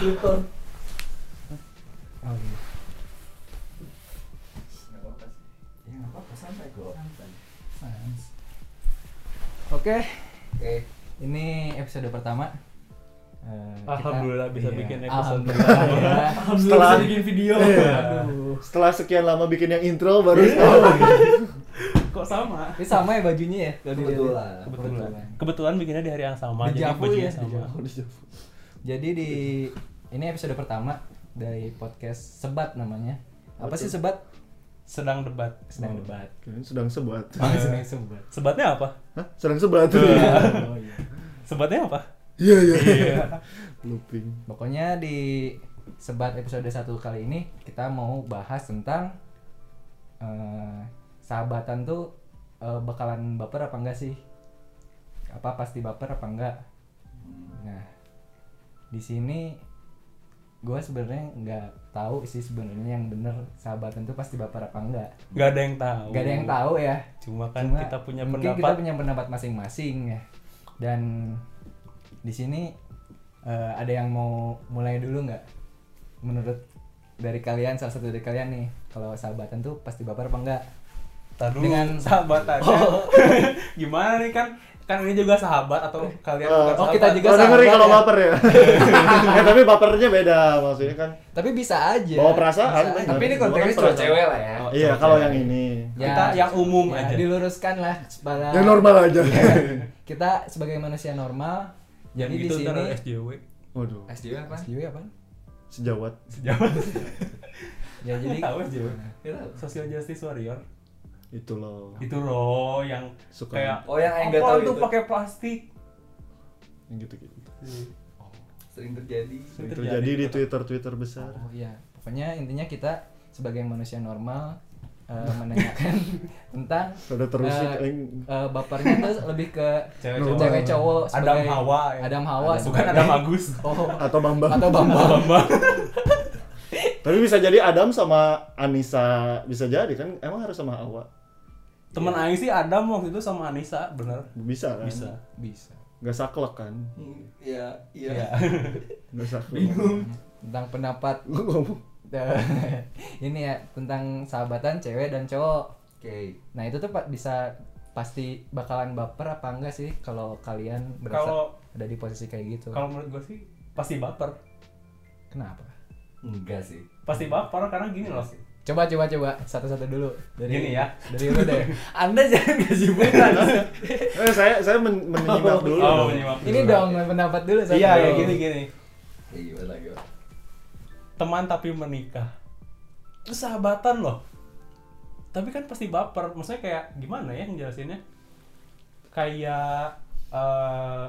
gitu Oh iya. Nggak apa-apa sih. Ya nggak apa-apa santai kok. Santai. Nice. Oke, Oke. ini episode pertama. Eh, kita- Alhamdulillah bisa Iya, bikin episode Alhamdulillah ya. alhamdulillah Setelah- bisa bikin video Aduh. Iya. Setelah sekian lama bikin yang intro baru sekarang. Kok sama? Ini sama ya bajunya ya? Kalau dilihat. Kebetulan. Kebetulan. Kebetulan bikinnya di hari yang sama, jadi Dejavu ya, bajunya sama. dejavu, dejavu. Jadi di ini episode pertama dari podcast Sebat namanya. Apa sih Sebat? Sedang debat. Sedang debat. Kalian sedang sebat. Oh, sedang sebat. Sebatnya apa? Hah? Sedang sebat. Oh, iya. Sebatnya apa? Iya iya. Looping. Pokoknya di Sebat episode 1 kali ini kita mau bahas tentang eh, sahabatan tuh eh, bakalan baper apa enggak sih? Apa pasti baper apa enggak? Nah, di sini gue sebenarnya nggak tahu sih sebenarnya yang bener sahabatan tuh pasti baper apa enggak. Gak ada yang tahu. Gak ada yang tahu ya. Cuma kan Cuma kita punya mungkin pendapat. kita punya pendapat masing-masing ya. Dan di sini eh, ada yang mau mulai dulu nggak? Menurut dari kalian salah satu dari kalian nih, kalau sahabatan tuh pasti baper apa enggak? Ntar dulu, Dengan- Oh. sahabatannya. Gimana nih kan? Kan ini juga sahabat atau kalian bukan Oh, sahabat? kita juga Oh, ngeri sahabat kalau ya. baper ya. Eh, tapi bapernya beda maksudnya kan. Tapi bisa aja. Bawa perasaan, Bisa aja. bener. Tapi ini Gua kan konteksnya cewek. perasaan. Cewek lah Oh, ya. iya, cewek-cewek. kalau yang ini. Kita yang umum ya, aja. Diluruskan lah pada Yang Ya, normal aja. Iya. kita sebagai manusia normal. Yang Jadi di gitu ntar sini ada SJW. Waduh, SJW apa? SJW apa? sejawat. Sejawat. Ya jadi Tahu SJW. Social Justice Warrior. Itu loh. Itu loh yang Suka kayak Oh yang enggak "Apaan tahu tuh itu pakai plastik. yang gitu-gitu. sering terjadi. Sering Terjadi terjadi di di kota. Twitter-Twitter besar. Oh iya, pokoknya intinya kita sebagai manusia normal eh, menanyakan tentang Ada terusin eh, aing. eh, bapernya tuh lebih ke Cewek-cewek. cewek cowok Adam sebagai- Hawa ya. Adam Hawa Bukan sebagai- Adam Agus. Oh, atau Bambang. atau Bambang. Tapi bisa jadi Adam sama Anissa bisa jadi kan emang harus sama Awa. Temen Iya. Aing sih Adam waktu itu sama Anissa, bener? Bisa kan? Bisa. Bisa. Nggak saklek kan? Hmm, Iya, iya. Iya. Nggak saklek. Bingung. Tentang pendapat Gua ngomong. eh, ini ya tentang sahabatan cewek dan cowok. Oke. Nah, itu tuh Pak bisa pasti bakalan baper apa enggak sih kalau kalian berasa Kalau ada di posisi kayak gitu. kalau menurut gue sih pasti baper. Kenapa? Enggak sih. Pasti Iya. baper karena gini loh. Coba coba coba satu-satu dulu dari Gini ya. dari lu deh. Anda jangan kesibukan. Eh, saya saya men menyimak dulu. oh, menyimak. Ini dulu. dong pendapat dulu satu. Iya, ya gini gini. Ya gimana gimana? Teman tapi menikah. Itu sahabatan loh. Tapi kan pasti baper. Maksudnya kayak gimana ya ngejelasinnya? Kayak eh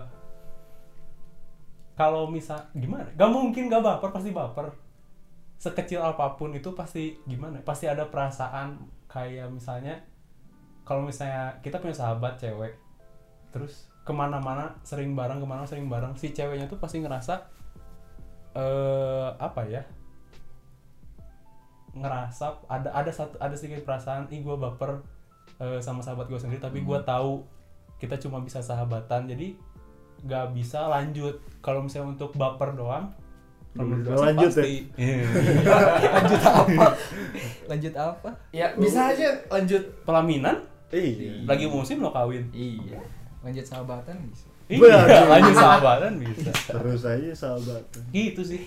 kalau misal gimana? Gak mungkin gak baper, pasti baper. Sekecil apapun itu pasti gimana? Pasti ada perasaan kayak misalnya kalau misalnya kita punya sahabat cewek, terus kemana-mana sering bareng kemana sering bareng si ceweknya tuh pasti ngerasa eh apa ya ngerasa ada ada satu ada sedikit perasaan ih gue baper eh, sama sahabat gue sendiri tapi Hmm. gua gue tahu kita cuma bisa sahabatan jadi gak bisa lanjut kalau misalnya untuk baper doang kalau menurut gua sih Lanjut ya? pasti. lanjut apa? lanjut apa? Ya bisa aja lanjut. pelaminan Iya. lagi musim lo kawin Iya. Lanjut sahabatan bisa. iya Waduh. lanjut sahabatan bisa Terus aja sahabat. gitu sih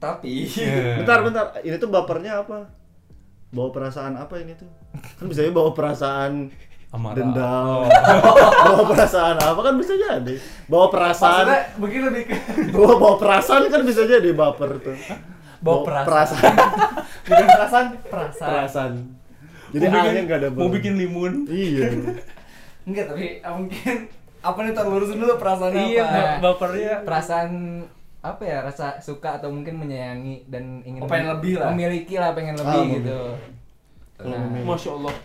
Tapi Eh. Bentar, bentar. Ini tuh bapernya apa? Bawa perasaan apa ini tuh? Kan bisa aja bawa perasaan Amarah. Oh. dendam. bawa perasaan apa kan bisa jadi. Bawa perasaan, maksudnya mungkin lebih ke bawa, bawa perasaan kan bisa jadi baper tuh. Bawa perasaan. bukan perasaan perasaan perasaan. Jadi mau A-nya bikin, nggak ada mau baper. bikin limun Iya. enggak tapi eh, mungkin apa nih tar lurusin dulu perasaan Iya, apa. ba- bapernya Perasaan apa ya rasa suka atau mungkin menyayangi dan ingin Oh, pengen lebih lah. memiliki lah pengen lebih Ah, gitu Kalau Nah. memiliki, Masya Allah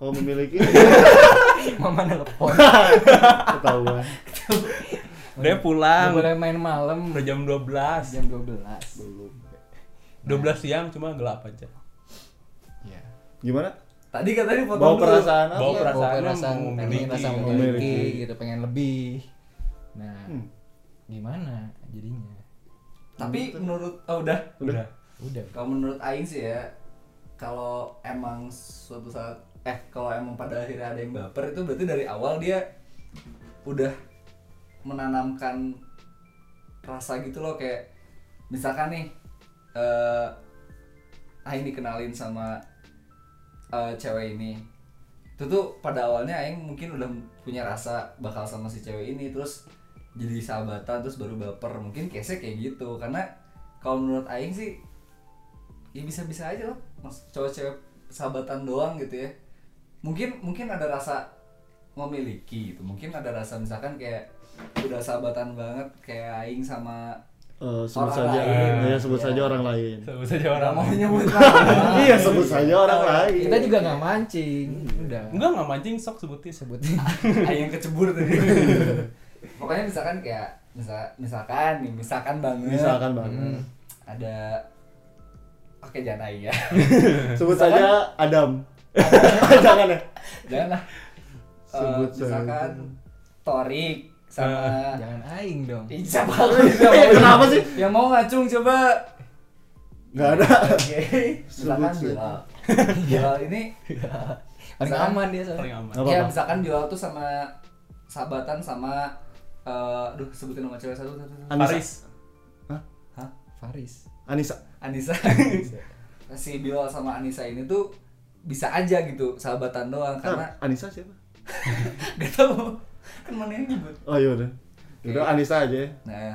kalau memiliki mama nelpon ketahuan. Udah pulang Nggak boleh main malam Udah jam 12 jam 12 Belum. 12 siang cuma gelap aja Iya. ya Gimana? Tadi katanya potong Bawa dulu. perasaan apa? Bawa perasaan. perasaan mau pengen memiliki. rasa Memiliki. memiliki gitu pengen lebih nah Hmm. gimana jadinya tapi menurut oh udah udah udah kalau menurut Aing sih ya kalau emang suatu saat eh kalau emang pada akhirnya ada yang baper itu berarti dari awal dia udah menanamkan rasa gitu loh kayak misalkan nih eh Aing dikenalin sama eh, cewek ini itu tuh pada awalnya Aing mungkin udah punya rasa bakal sama si cewek ini terus jadi sahabatan terus baru baper mungkin case kayak gitu karena kalau menurut Aing sih ya bisa-bisa aja loh mas cowok-cewek sahabatan doang gitu ya mungkin mungkin ada rasa memiliki gitu mungkin ada rasa misalkan kayak udah sahabatan banget kayak aing sama Eh, sebut Orang saja lain. ya sebut saja orang lain sebut saja nggak orang mau lain. nyebut nama. iya sebut saja orang Iya, lain kita juga nggak mancing Hmm. udah enggak enggak mancing sok sebutin sebutin Aing yang kecebur tadi pokoknya misalkan kayak misal misalkan nih misalkan Iya. banget misalkan banget Hmm. ada oke jangan aing ya sebut saja Adam jangan ya jangan lah Eh, Sebut saja. Ah. misalkan Torik sama jangan aing dong Ih, siapa siapa- Iya, Kenapa sih? Yang mau ngacung coba. nggak ada Oke. Misalkan Sebut Iya. Bilal. Bilal ini paling Misalkan- aman dia soalnya paling aman Nggak ya apa-apa. misalkan Bilal tuh sama sahabatan sama eh aduh sebutin nama cewek satu satu. satu. Anissa. Paris Hah? Faris Anissa Anissa. si Bilal sama Anissa ini tuh bisa aja gitu sahabatan doang karena Nah, Anissa siapa gak tahu kan mana yang nyebut. oh iya udah udah Anissa aja ya Nah,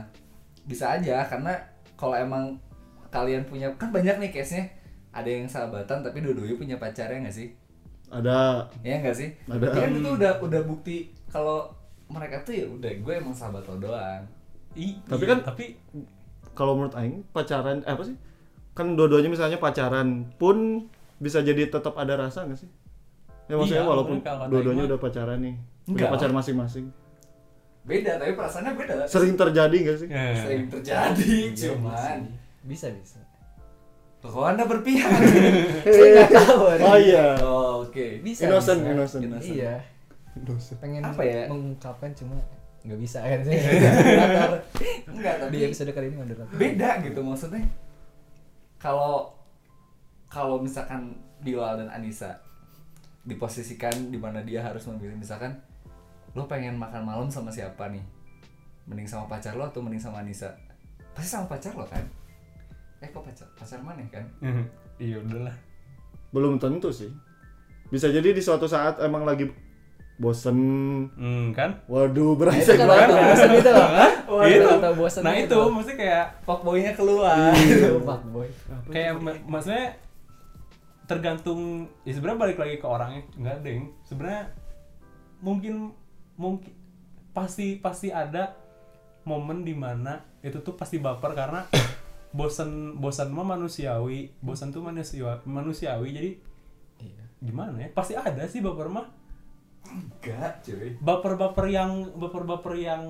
bisa aja karena kalau emang kalian punya kan banyak nih case-nya. Ada yang sahabatan tapi dua-duanya punya pacarnya nggak sih? ada Ya nggak sih? Ada. Ya kan itu udah udah bukti kalau mereka tuh ya udah gue emang sahabat lo doang. I- Tapi iya, kan- tapi kalau menurut Aing pacaran eh, apa sih kan dua-duanya misalnya pacaran pun bisa jadi tetap ada rasa nggak sih ya maksudnya Iya, walaupun menurut kalau Aing dua-duanya mah- udah pacaran nih Enggak. udah pacar masing-masing Beda tapi perasaannya beda. sering terjadi nggak sih eh, Sering terjadi cuman bisa bisa kok anda berpihak. saya nggak tahu hari oh ini. iya oh, Oke. bisa Innocent, bisa. innocent. iya pengen Apa ya? mengungkapkan cuma nggak bisa kan saya Iya. moderator. Enggak tapi di episode kali ini moderator beda gitu maksudnya kalau kalau misalkan Bilal dan Anissa diposisikan di mana dia harus memilih misalkan lo pengen makan malam sama siapa nih mending sama pacar lo atau mending sama Anissa pasti sama pacar lo kan eh kok pacar pacar mana kan iya udahlah belum tentu sih bisa jadi di suatu saat emang lagi bosen hmm, kan waduh Nah, berasa itu kalau banget atau bosan itu loh itu atau bosan nah itu mesti kayak fuckboynya keluar pak boy kayak ma- maksudnya tergantung ya sebenarnya balik lagi ke orangnya nggak deng sebenarnya mungkin mungkin pasti pasti ada momen dimana itu tuh pasti baper karena bosan bosan mah manusiawi bosan tuh manusia manusiawi jadi gimana ya pasti ada sih baper mah enggak cuy baper-baper yang baper-baper yang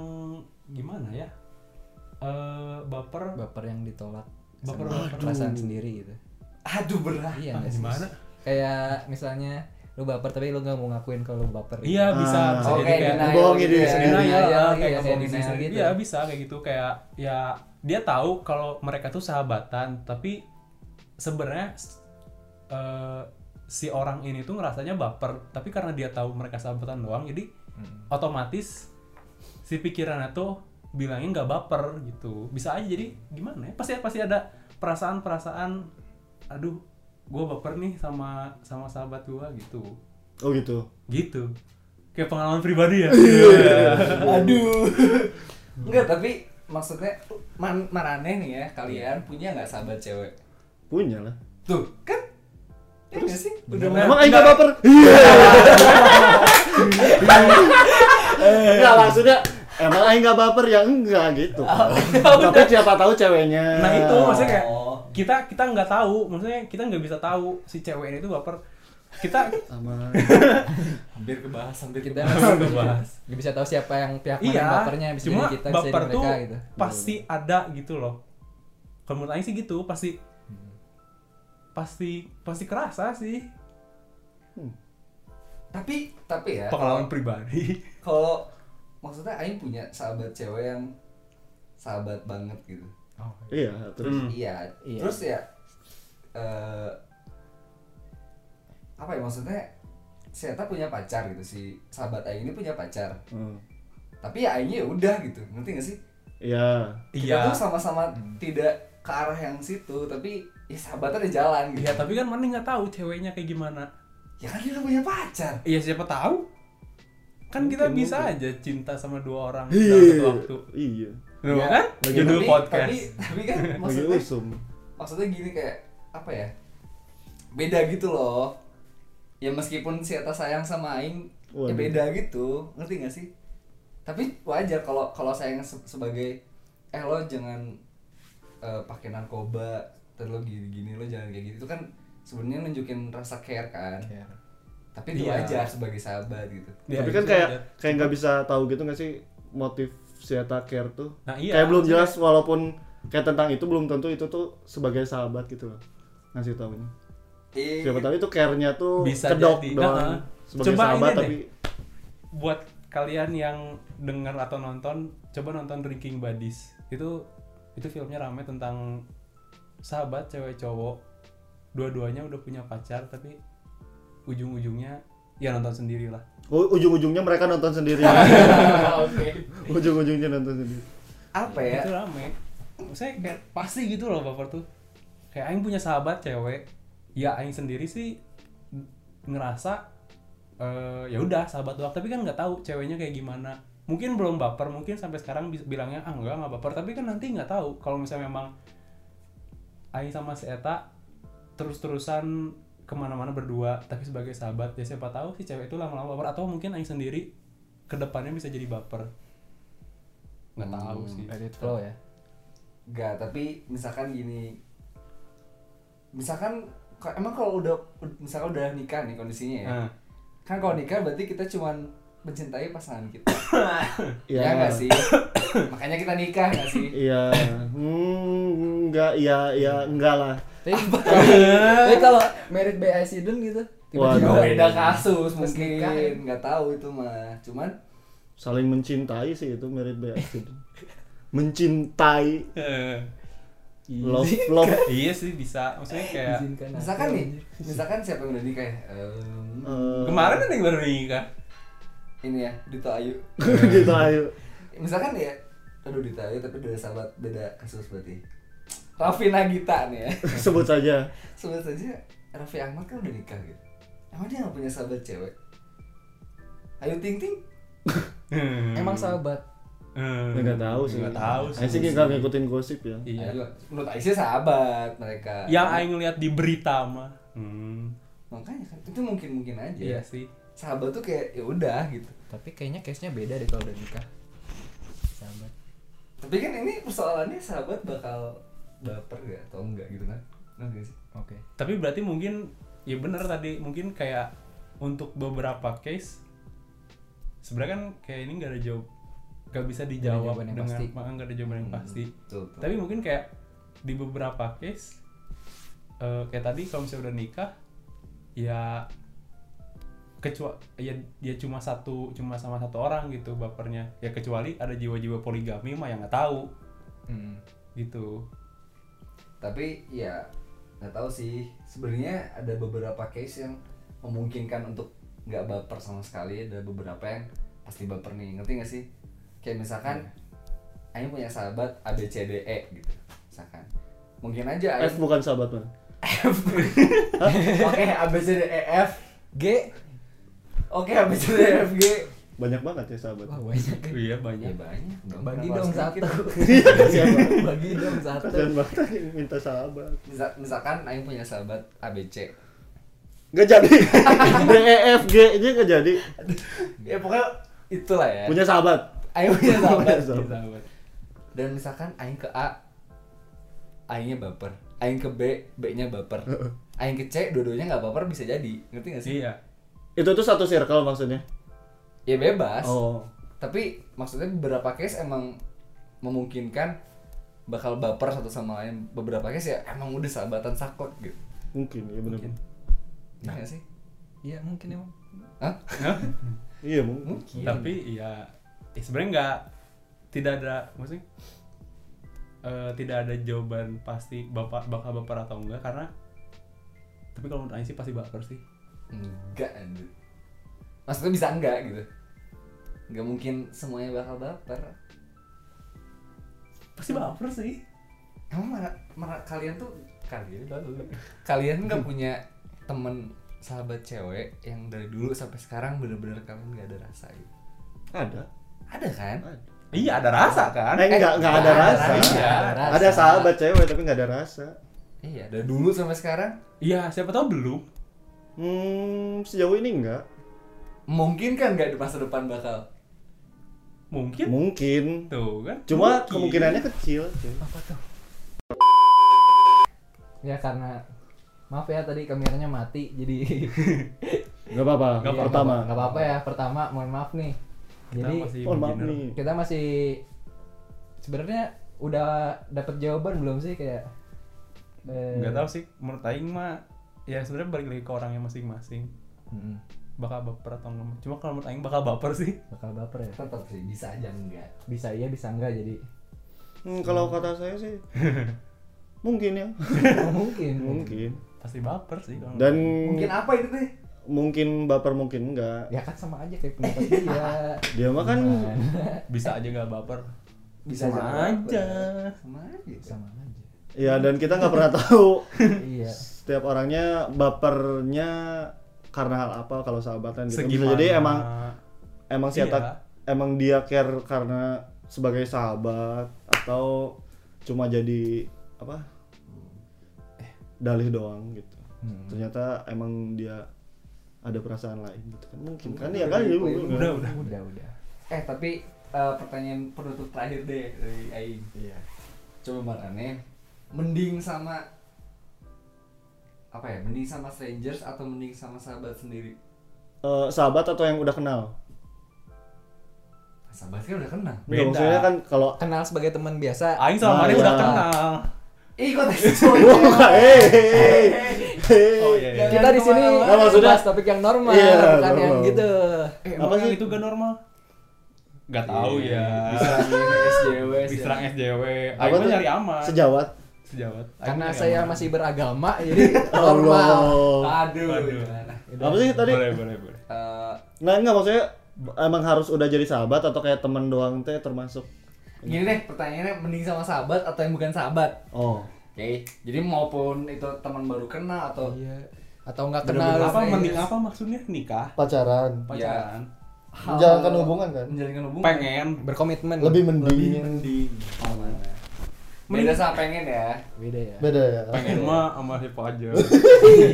gimana ya eh baper baper yang ditolak Baper- sama baper. perasaan sendiri gitu aduh berat iya ah, nggak sih? gimana kayak misalnya lu baper tapi lu nggak mau ngakuin kalau lu baper gitu. iya bisa Ah. bisa Oke, jadi kayak Iya, denial. Bohongin diri sendiri. ya. Denial, Denial, lah, iya, kayak kayak ngebohongin diri denial sendiri. gitu. Iya, bisa kayak gitu kayak ya dia tahu kalau mereka tuh sahabatan tapi sebenarnya s- eh, si orang ini tuh ngerasanya baper tapi karena dia tahu mereka sahabatan doang jadi Hmm. otomatis si pikirannya tuh bilangnya nggak baper gitu bisa aja jadi gimana ya pasti pasti ada perasaan-perasaan aduh gue baper nih sama sama sahabat gua gitu oh gitu gitu kayak pengalaman pribadi ya Iya. Aduh. Enggak, tapi maksudnya man marane nih ya, kalian punya nggak sahabat cewek? punya lah Tuh, kan? Ya nggak sih? Udah Nah, emang Aing gak baper iya nggak maksudnya Eh. emang Aing gak baper ya enggak gitu tapi siapa tahu ceweknya Ah, ya nah itu maksudnya kayak Oh. kita kita nggak tahu maksudnya kita nggak bisa tahu si cewek ini tuh baper kita sama hampir kebahas, hampir kita kebahas. masih Udah bahas. nggak bisa tahu siapa yang pihak mana iya yang bapernya bisa cuma jadi kita bisa baper jadi tuh mereka gitu pasti ada gitu loh kalau menurut Aing sih gitu pasti pasti pasti kerasa sih Tapi tapi ya, pengalaman pribadi kalau maksudnya Aing punya sahabat cewek yang sahabat banget gitu. Oh. Iya, terus Hmm. Iya. Iya. Terus ya eh apa ya maksudnya? Si Eta punya pacar gitu si sahabat Aing ini punya pacar. Hmm. Tapi ya Aingnya ya udah gitu. Ngerti gak sih? Iya. Iya. Kita tuh sama-sama tidak ke arah yang situ, tapi ya sahabatnya jalan gitu. Iya, tapi kan mana nggak tahu ceweknya kayak gimana. Ya kan dia udah punya pacar. Iya, siapa tahu? Kan kita Mungkin, bisa mungkin. aja cinta sama dua orang dalam Iya. satu waktu. Iya. Loh, Ya, kan? ya, Judul tapi- podcast. Tapi, tapi kan Lagi maksudnya usum. maksudnya gini kayak apa ya beda gitu loh ya meskipun si Eta sayang sama Aing ya Waduh. beda gitu ngerti gak sih tapi wajar kalau kalau sayang se- sebagai eh lo jangan eh, pakai narkoba terus lo gini gini lo jangan kayak gitu itu kan sebenarnya nunjukin rasa care kan tapi itu Iya. wajar sebagai sahabat gitu Iya, Tapi kan itu kayak ada. kayak nggak bisa tahu gitu nggak sih motif si Eta care tuh. Nah, iya. Kayak belum jelas walaupun kayak tentang itu belum tentu itu tuh sebagai sahabat gitu loh. Ngasih tahunya. Iya. Siapa tahu itu care-nya tuh Bisa kedok jadi. doang. Nah, Sebagai coba ini sahabat deh. tapi buat kalian yang dengar atau nonton, coba nonton Drinking Buddies. Itu itu filmnya rame tentang sahabat cewek cowok dua-duanya udah punya pacar tapi ujung-ujungnya ya nonton sendirilah. u- ujung-ujungnya mereka nonton sendiri. Oke. ujung-ujungnya nonton sendiri. apa ya Itu rame. Saya kayak pasti gitu loh baper tuh. Kayak aing punya sahabat cewek, ya aing sendiri sih n- ngerasa eh ya udah sahabat doang, tapi kan nggak tahu ceweknya kayak gimana. Mungkin belum baper, mungkin sampai sekarang bis- bilangnya ah enggak nggak baper, tapi kan nanti nggak tahu kalau misalnya memang aing sama si Eta terus-terusan kemana-mana berdua tapi sebagai sahabat ya siapa tahu si cewek itu lama-lama baper atau mungkin aing sendiri kedepannya bisa jadi baper nggak tahu Hmm. sih Let it flow ya. Enggak, tapi misalkan gini. Misalkan ka- emang kalau udah misalkan udah nikah nih kondisinya ya. Nah, Kan kalau nikah berarti kita cuman mencintai pasangan kita. Iya. Ya enggak sih? Makanya kita nikah enggak sih? Iya, hmm, enggak, iya, iya, enggak lah. Tapi, tapi kalau merit by accident gitu, Waduh. tiba-tiba Ya beda kasus Pas nikah ya. mungkin nggak tahu itu mah cuman Saling mencintai sih itu merit by accident. mencintai eh, love love iya sih bisa maksudnya kayak izinkan. aku, misalkan nih anjir. misalkan siapa yang udah nikah ya Ehm, eh, kemarin ada yang baru nikah ini ya Dito Ayu gitu ayo misalkan ya aduh Dito Ayu tapi udah sahabat beda kasus berarti Raffi Nagita nih ya sebut saja sebut saja Raffi Ahmad kan udah nikah gitu emang dia nggak punya sahabat cewek Ayu Ting Ting Hmm. Hmm. Emang sahabat. Eh, Ya, nggak tahu sih nggak tahu sih Aing sih nggak ngikutin gosip ya iya Ya. Ayu- menurut Aisyah sahabat mereka yang aing lihat di berita mah hmm, makanya kan itu mungkin mungkin aja iya sih sahabat tuh kayak ya udah gitu Tapi kayaknya case-nya beda deh kalau udah nikah. Sahabat. tapi kan ini persoalannya sahabat bakal baper gak atau enggak gitu kan Ngerti gak sih? Oke. tapi berarti mungkin ya bener tadi mungkin kayak untuk beberapa case sebenarnya kan kayak ini nggak ada jawab nggak bisa dijawab jawaban yang dengan pasti. maka nggak ada jawaban yang Hmm, pasti betul, betul. tapi mungkin kayak di beberapa case eh, kayak tadi kalau misalnya udah nikah ya kecuali ya dia cuma satu cuma sama satu orang gitu bapernya ya kecuali ada jiwa-jiwa poligami mah yang nggak tahu Hmm. gitu tapi ya nggak tahu sih sebenarnya ada beberapa case yang memungkinkan untuk nggak baper sama sekali ada beberapa yang pasti baper nih ngerti nggak sih kayak misalkan Iya. Aing punya sahabat A B C D E gitu misalkan mungkin aja F Aing bukan sahabat mah oke A B C D E F G. oke A B C D E F G banyak banget ya sahabat Wah banyak. iya ya banyak banyak dong Bagi kenapa dong harus satu. dikit? Bagi dong satu. kasian banget Aing minta sahabat Misa- misalkan Aing punya sahabat A B C nggak jadi D E F G nya nggak jadi ya pokoknya itulah ya punya sahabat Aing punya sahabat sahabat Iya, dan misalkan aing ke A aingnya baper aing ke B B-nya baper aing ke C dua-duanya nggak baper bisa jadi ngerti gak sih iya itu tuh satu circle maksudnya ya bebas oh tapi maksudnya beberapa case emang memungkinkan bakal baper satu sama lain beberapa case ya emang udah sahabatan saklek gitu mungkin ya benar Iya Nah. nggak sih Iya mungkin emang. Hah? iya mungkin iya. tapi ya, ya sebenarnya nggak tidak ada maksudnya eh, tidak ada jawaban pasti bapak bakal baper atau enggak karena tapi kalau menurut Aing sih pasti baper sih enggak anjir maksudnya bisa enggak gitu nggak mungkin semuanya bakal baper pasti baper sih emang mara- mara- kalian tuh kalian dulu. kalian nggak punya temen sahabat cewek yang dari dulu sampai sekarang bener-bener kalian nggak ada rasa gitu Ada. ada kan Ada. iya ada rasa kan Eh, enggak, enggak ada nggak ada rasa. rasa. Ada, Nggak ada rasa. sahabat cewek tapi enggak ada rasa. iya dari dulu sampai sekarang iya siapa tahu belum Hmm, sejauh ini enggak. mungkin kan nggak di masa depan bakal mungkin Mungkin. tuh kan Cuma Mungkin. kemungkinannya kecil. cuy. ya karena maaf ya tadi kameranya mati jadi Iya, Enggak apa-apa. Nggak apa-apa, Pertama. nggak apa-apa ya pertama mohon maaf nih Kita jadi masih Oh, maaf beginner. nih. kita masih sebenarnya udah dapat jawaban belum sih kayak eh, nggak tahu sih menurut Aing mah ya sebenarnya balik lagi ke orangnya masing-masing mm, bakal baper atau enggak cuma kalau menurut Aing bakal baper sih bakal baper ya tetap sih bisa aja enggak bisa iya bisa enggak jadi Hmm, kalau kata saya sih mungkin ya. Oh, mungkin Mungkin. pasti baper sih kalau Dan mungkin apa itu teh mungkin baper mungkin enggak. ya kan sama aja kayak pendapat dia Dia mah kan bisa aja nggak baper bisa Sama aja nggak aja. baper. Gitu. sama aja sama aja ya dan kita nggak pernah tahu iya setiap orangnya bapernya karena hal apa kalau sahabatan gitu. Bisa Segimana- jadi emang emang si Iya. Atak- emang dia care karena sebagai sahabat atau cuma jadi apa? eh, dalih doang gitu. Hmm. Ternyata emang dia ada perasaan lain gitu kan. Mungkin kan ya kan ya, udah udah udah udah eh tapi eh, pertanyaan penutup terakhir deh dari Aing Iya. coba marane mending sama apa ya mending sama strangers atau mending sama sahabat sendiri Eh, sahabat atau yang udah kenal? Nah, sahabat kan udah kenal Nggak, Beda. maksudnya kan kalau kenal sebagai teman biasa Aing sama Ah, Mari iya. udah kenal ih kok tadi cowok ya? Wah, hey, hey, hey. oh iya, iya. kita Jangan di sini kemana-mana. Nah, maksudnya- bahas topik yang normal Iya, bukan normal. yang gitu Eh, Apa apa sih sih? itu gak normal Gak tahu ya SJW diserang SJW Apa Aing mah tuh? nyari aman Sejawat. sejawat Aing karena nyari saya aman. masih beragama jadi normal Allah. aduh, Aduh. gimana? Apa sih tadi? boleh boleh boleh Eh, Nah, enggak maksudnya emang harus udah jadi sahabat atau kayak teman doang teh termasuk. gini deh pertanyaannya mending sama sahabat atau yang bukan sahabat Oh. oke jadi maupun itu teman baru kenal atau iya atau nggak kenal Bener-bener apa Harus- mending apa maksudnya nikah Pacaran. pacaran hal- Menjalankan hubungan kan? menjalankan hubungan pengen berkomitmen Lebih lebih mending. mending mana Mending- beda sama pengen ya beda ya Beda ya. pengen mah sama siapa aja Iya.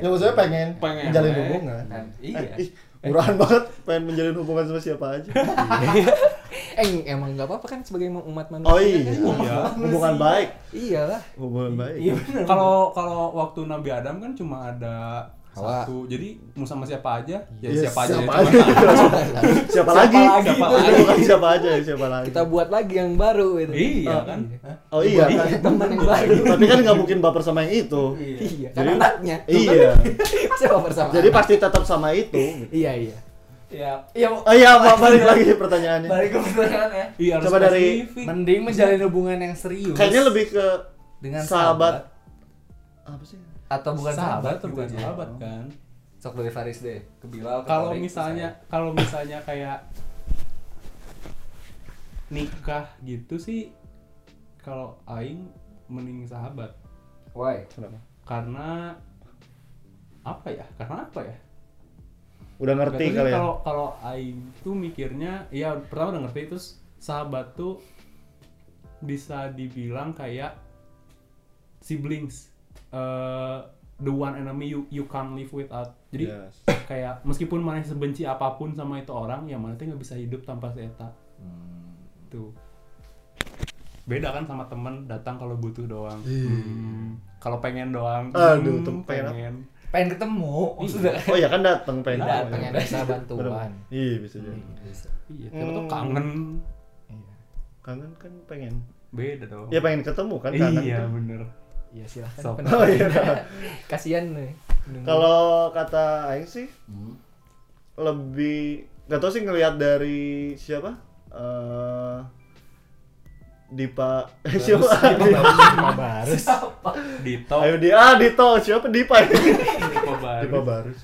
Ya maksudnya pengen, Pengen. menjalin hubungan. Kan, iya Ih, murahan banget pengen menjalin hubungan sama siapa aja. eh emang nggak apa-apa kan sebagai umat manusia Oh iya. kan? Hubungan baik. iyalah Hubungan baik. iya bener kalau kalau waktu Nabi Adam kan cuma ada Hawa. satu jadi mau sama siapa aja ya Ya, siapa aja siapa ya, aja. lagi? siapa lagi? Siapa Siapa lagi? lagi? Bukan siapa aja, siapa lagi? kita buat lagi yang baru gitu. cuman- itu iya kan Oh iya. kan? teman yang baru Tapi kan nggak mungkin baper sama yang itu. iya Jadi- karena anaknya Iya. siapa bersama Jadi pasti tetap sama itu. iya iya ya iya Oh iya, Pak, balik lagi pertanyaannya. balik ke pertanyaan ya iya harus Coba dari- spesifik. mending menjalin hubungan yang serius Kayaknya lebih ke dengan sahabat. sahabat apa sih? atau bukan sahabat sahabat, atau bukan gitu ya. sahabat kan sok dari Faris deh ke Bilal ke kalau Tarik, ke misalnya kalau misalnya kayak nikah gitu sih kalau aing mending sahabat saya. why Kenapa? karena apa ya karena apa ya Udah ngerti Berarti kali ya. Kalau kalau Aing tuh mikirnya, ya pertama udah ngerti terus sahabat tuh bisa dibilang kayak siblings, Eh, the one enemy you you can't live without. Jadi Yes. kayak meskipun mana sebenci apapun sama itu orang, ya mana tuh nggak bisa hidup tanpa si Eta. Tuh beda kan sama temen datang kalau butuh doang Hmm. kalau pengen doang Iya. Aduh, hmm, tuh pengen apa? pengen pengen ketemu sudah Oh iya kan datang pengen. datang Bener. yang bisa bantuan Iya bisa jadi. iya siapa tuh Hmm. kangen iya Kangen kan pengen. beda dong Ya pengen ketemu kan kangen. iya tuh. bener iya Sok. silahkan Oh iya. kasihan nih nunggu. Kalau kata Aing sih Hmm. lebih nggak tau sih ngelihat dari siapa eh Dipa eh, siapa? Dipa Barus. Dito Ayo di ah Dito siapa Dipa ini? Dito Barus Dipa Barus.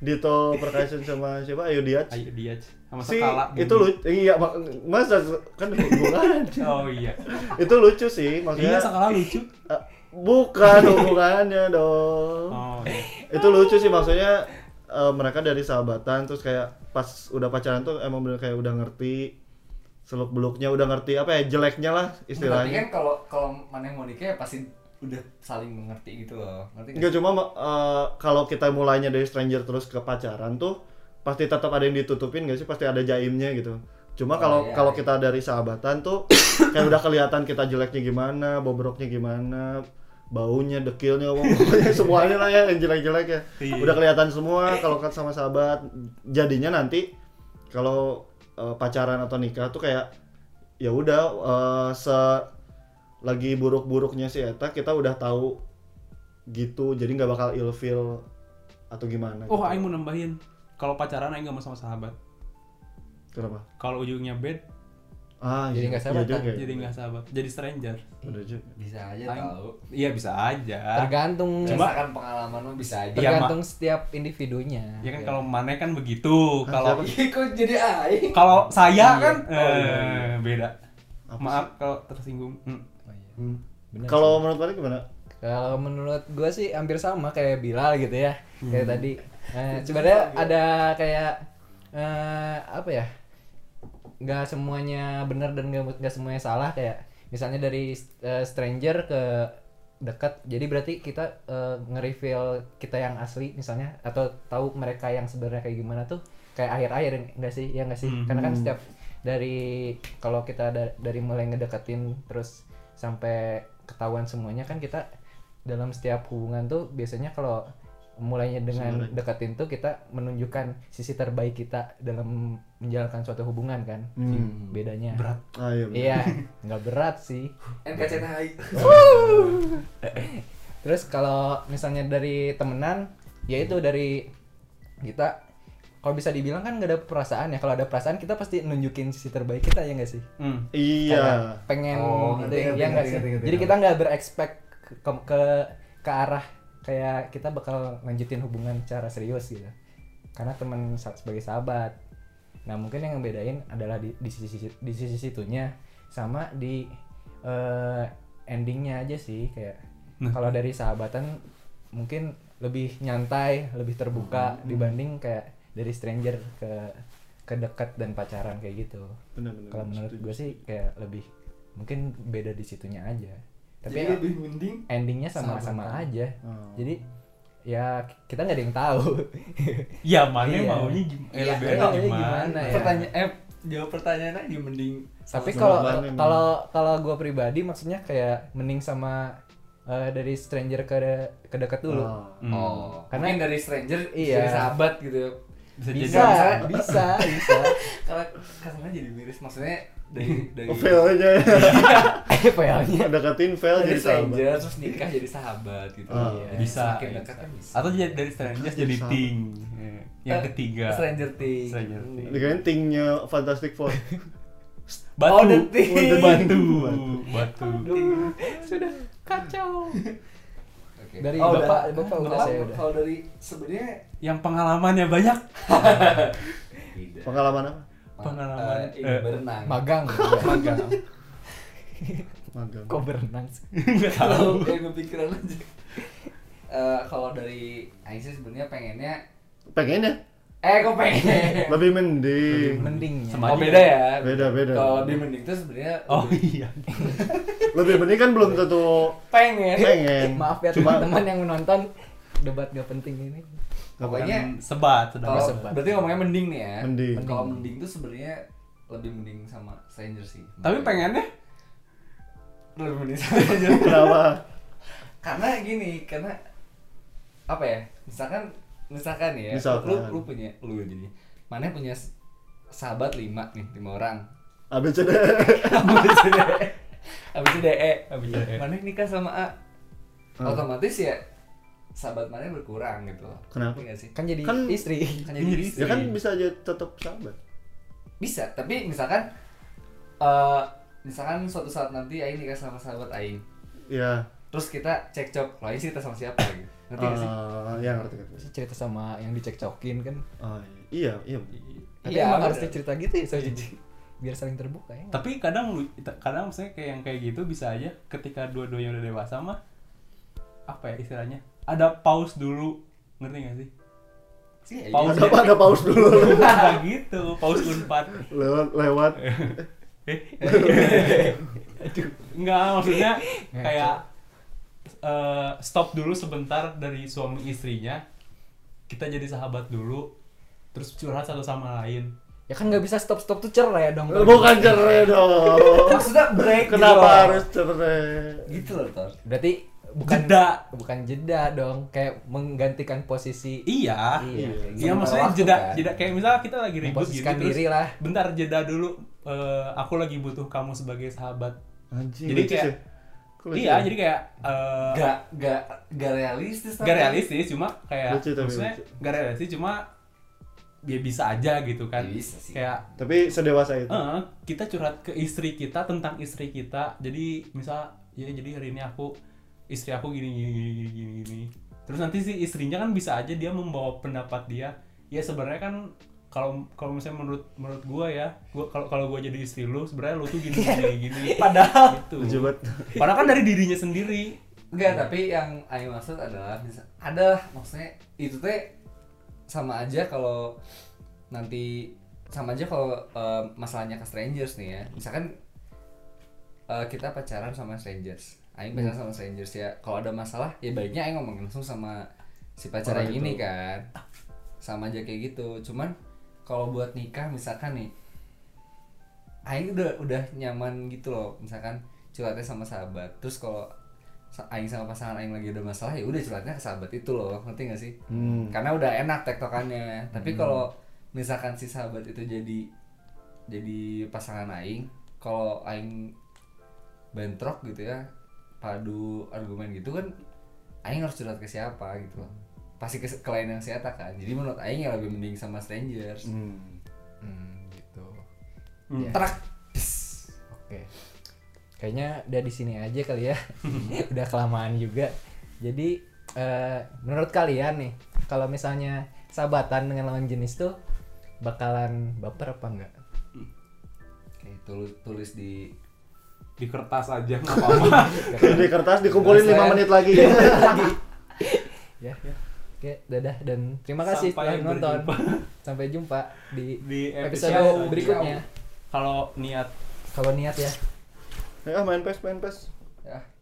Dito Percussion sama siapa? Ayo Diac. Ayo dia sama Si Sekala itu Bumi. lucu iya mak- masa kan hubungan oh iya itu lucu iya sih maksudnya Sekala lucu Eh, bukan hubungannya dong oh iya itu lucu sih maksudnya eh, mereka dari sahabatan terus kayak pas udah pacaran tuh emang bener kayak udah ngerti seluk beluknya udah ngerti apa ya jeleknya lah Tapi kan istilahnya kalau kalau mana yang mau nikah ya pasti udah saling mengerti gitu loh. Ngerti nggak? nggak cuma eh, kalau kita mulainya dari stranger terus ke pacaran tuh pasti tetap ada yang ditutupin gak sih pasti ada jaimnya gitu cuma Oh, kalau iya, kalau iya. kita dari sahabatan tuh kayak udah kelihatan kita jeleknya gimana bobroknya gimana baunya dekilnya pokoknya semuanya lah ya yang jelek-jelek ya Iya. udah kelihatan semua kalau kan sama sahabat jadinya nanti kalau eh, pacaran atau nikah tuh kayak ya udah eh, se lagi buruk-buruknya si Eta kita udah tahu gitu jadi nggak bakal ilfeel atau gimana oh gitu. Aing mau nambahin kalau pacaran Aing gak mau sama sahabat kenapa kalau ujungnya bed ah Jadi iya, nggak iya sahabatan, juga ya. jadi nggak sahabat jadi stranger Bener juga. Bisa aja Aing- tahu. iya bisa aja Tergantung Cuma- Berdasarkan pengalaman lo bisa Iya, aja. Ma. tergantung setiap individunya. ya kan kalau mana kan begitu kalau Iya, kok jadi aing. kalau saya Iya. kan Oh, eh, iya, beda Apa maaf kalau tersinggung Hmm. Oh, iya. Hmm. Bener kalau menurut Malik gimana Kalau menurut gue sih hampir sama kayak Bilal gitu ya, kayak tadi. Eh, sebenarnya ada kayak eh, apa ya? Nggak semuanya benar dan nggak nggak semuanya salah kayak misalnya dari eh, stranger ke dekat. Jadi berarti kita eh, nge-reveal kita yang asli misalnya atau tahu mereka yang sebenarnya kayak gimana tuh kayak akhir-akhir enggak sih? Ya enggak sih? Karena kan setiap dari kalau kita da- dari mulai ngedeketin terus sampai ketahuan semuanya kan kita dalam setiap hubungan tuh biasanya kalau mulainya dengan Sebenarnya. deketin tuh kita menunjukkan sisi terbaik kita dalam menjalankan suatu hubungan kan Hmm. bedanya berat ah iya bener. iya nggak berat sih NKCTHI. Terus kalau misalnya dari temenan, ya itu dari kita kalau bisa dibilang kan nggak ada perasaan ya. Kalau ada perasaan kita pasti nunjukin sisi terbaik kita ya nggak sih? Hmm. iya Kayak pengen Oh, gitu ngerti, ya ngerti, nggak ngerti, sih? ngerti, ngerti. Jadi kita nggak berekspek ke, ke ke arah kayak kita bakal lanjutin hubungan secara serius gitu. Karena teman sa- sebagai sahabat. Nah, mungkin yang ngebedain adalah di di sisi di sisi situnya sama di eh, endingnya aja sih kayak Nah. kalau dari sahabatan mungkin lebih nyantai, lebih Hmm. terbuka dibanding kayak dari stranger ke ke dekat dan pacaran kayak gitu bener bener kalau menurut gue sih kayak lebih mungkin beda di situnya aja tapi Jadi lebih mending endingnya sama-sama Sahabatan. aja Oh. jadi ya kita nggak ada yang tahu ya mana Iya. maunya gimana eh, Iya, lebih iya, enak iya, gimana gimana ya? pertanyaan eh jawab pertanyaan aja mending tapi Sama-sama kalau bareng. kalau kalau gue pribadi maksudnya kayak mending sama eh, dari stranger ke ke dekat dulu Ah. Hmm. oh Karena- karena dari stranger Iya. jadi sahabat gitu bisa, ya jadi bisa bisa. bisa bisa karena kasarnya jadi miris maksudnya dari dari Oh, fail aja ya. Eh, PL-nya. Deketin fail jadi dari sahabat. stranger terus nikah jadi sahabat gitu Ah. Iya. bisa, semakin ya, dekat bisa. kan bisa atau jadi dari stranger jadi Bisa. ting Eh, yang Eh, ketiga stranger ting. stranger Oh, ting Dikain tingnya Fantastic Four. batu Oh, the ting. Oh, the batu batu sudah kacau Oke. Dari Oh, bapak, udah. bapak udah, Bapak, saya udah. kalau dari sebenarnya yang pengalamannya banyak tidak Pengalaman apa? Pengalaman. Eh, ini Eh. berenang magang magang Magang. kok berenang sih nggak kalau tahu yang kepikiran aja Eh, kalau dari Aing sih sebenarnya pengennya Pengennya eh kok pengen ya? lebih mending. mendingnya Sama- Oh beda ya. Beda, beda. Kalau lebih mending tuh sebenarnya oh lebih iya Lebih mending kan belum tentu pengen. pengen. Eh, Maaf ya Cuma- teman-teman yang menonton debat gak penting ini. Pokoknya Hmm, sebat sedang kalau sebat. berarti ngomongnya mending nih ya. Mending. Kalau mending tuh sebenarnya lebih mending sama stranger sih. tapi pengennya lebih mending sama stranger. Kenapa? karena gini, karena apa ya? Misalkan misalkan ya, Misalkan. lu lu punya lu jadi. Mana punya s- sahabat lima nih, lima orang. ABCD. Habis E. itu E. DE. Habis itu DE. Mana nikah sama A. Hmm. Otomatis ya sahabat mana berkurang gitu. loh. Kenapa? Ngerti nggak sih? Kan jadi Kan- istri. Kan jadi Ini istri. Ya kan bisa aja tetap sahabat. bisa tapi misalkan eh misalkan suatu saat nanti Aing nikah sama sahabat Aing ya terus kita cekcok lah Aing cerita sama siapa gitu ngerti gak sih eh, ya ngerti ngerti Terus cerita sama yang dicekcokin kan Oh, iya iya Tapi iya emang harus ada. dicerita gitu ya soalnya Iya. jadi biar saling terbuka ya tapi kadang lu- kadang misalnya kayak yang kayak gitu bisa aja ketika dua-duanya udah dewasa mah apa ya istilahnya ada pause dulu ngerti gak sih sih gitu. Aing. Paus. ada ada paus dulu Bukan gitu pause unpad lewat lewat Enggak, maksudnya kayak eh, stop dulu sebentar dari suami istrinya. Kita jadi sahabat dulu, terus curhat satu sama lain. ya kan nggak bisa stop stop tuh cerai dong bukan cerai dong maksudnya break gitu kenapa loh. harus cerai gitu loh Tor berarti bukan Jeda. bukan jeda dong kayak menggantikan posisi Iya. Iya, Iya, kayak gitu. maksudnya Waktu jeda, kan. jeda kayak misalnya kita lagi ribut gitu Memposisikan terus diri lah. bentar jeda dulu. eh, aku lagi butuh kamu sebagai sahabat. anjing Jadi lucu kayak- sih. Kok lucu iya, ya? jadi kayak eh, gak gak gak realistis tapi. gak realistis cuma kayak Lucu tapi maksudnya lucu. gak realistis cuma ya bisa aja gitu kan. Bisa sih. Kayak tapi sedewasa itu Ah. Eh, kita curhat ke istri kita tentang istri kita. Jadi misal ya jadi hari ini aku istri aku gini gini gini gini gini. gini. Terus nanti si istrinya kan bisa aja dia membawa pendapat dia. Ya sebenarnya kan kalau kalau misalnya menurut menurut gua ya, gua kalau kalau gua jadi istri lu sebenarnya lu tuh gini gini gini. Padahal- gitu. lucu banget Padahal kan dari dirinya sendiri. Enggak, tapi yang Aing maksud adalah bisa ada maksudnya itu teh sama aja kalau nanti sama aja kalau eh, masalahnya ke strangers nih ya. Misalkan eh, kita pacaran sama strangers. Aing pacaran sama strangers ya. Kalau ada masalah ya baiknya Aing ngomong langsung sama si pacar Orang Aing itu. ini kan. Sama aja kayak gitu. Cuman kalau buat nikah misalkan nih Aing udah udah nyaman gitu loh misalkan curhatnya sama sahabat terus kalau sa- Aing sama pasangan Aing lagi ada masalah ya udah curhatnya ke sahabat itu loh ngerti gak sih Hmm. karena udah enak tektokannya tapi kalau misalkan si sahabat itu jadi jadi pasangan Aing kalau Aing bentrok gitu ya padu argumen gitu kan Aing harus curhat ke siapa gitu loh pasti ke, ke lain yang siapa kan jadi menurut Aing ya lebih mending sama strangers Hmm. Hmm, gitu oke Hmm. Terak. kayaknya udah di sini aja kali ya udah kelamaan juga jadi eh, menurut kalian nih kalau misalnya sahabatan dengan lawan jenis tuh bakalan baper apa enggak Oke, tulis tulis di Di kertas aja nggak apa-apa. di kertas dikumpulin Kertas, 5 ya. menit lagi ya oke dadah dan terima kasih Sampai telah nonton berjumpa. sampai jumpa di, Di episode, episode berikutnya Kalau niat kalau niat ya ya main pes main pes ya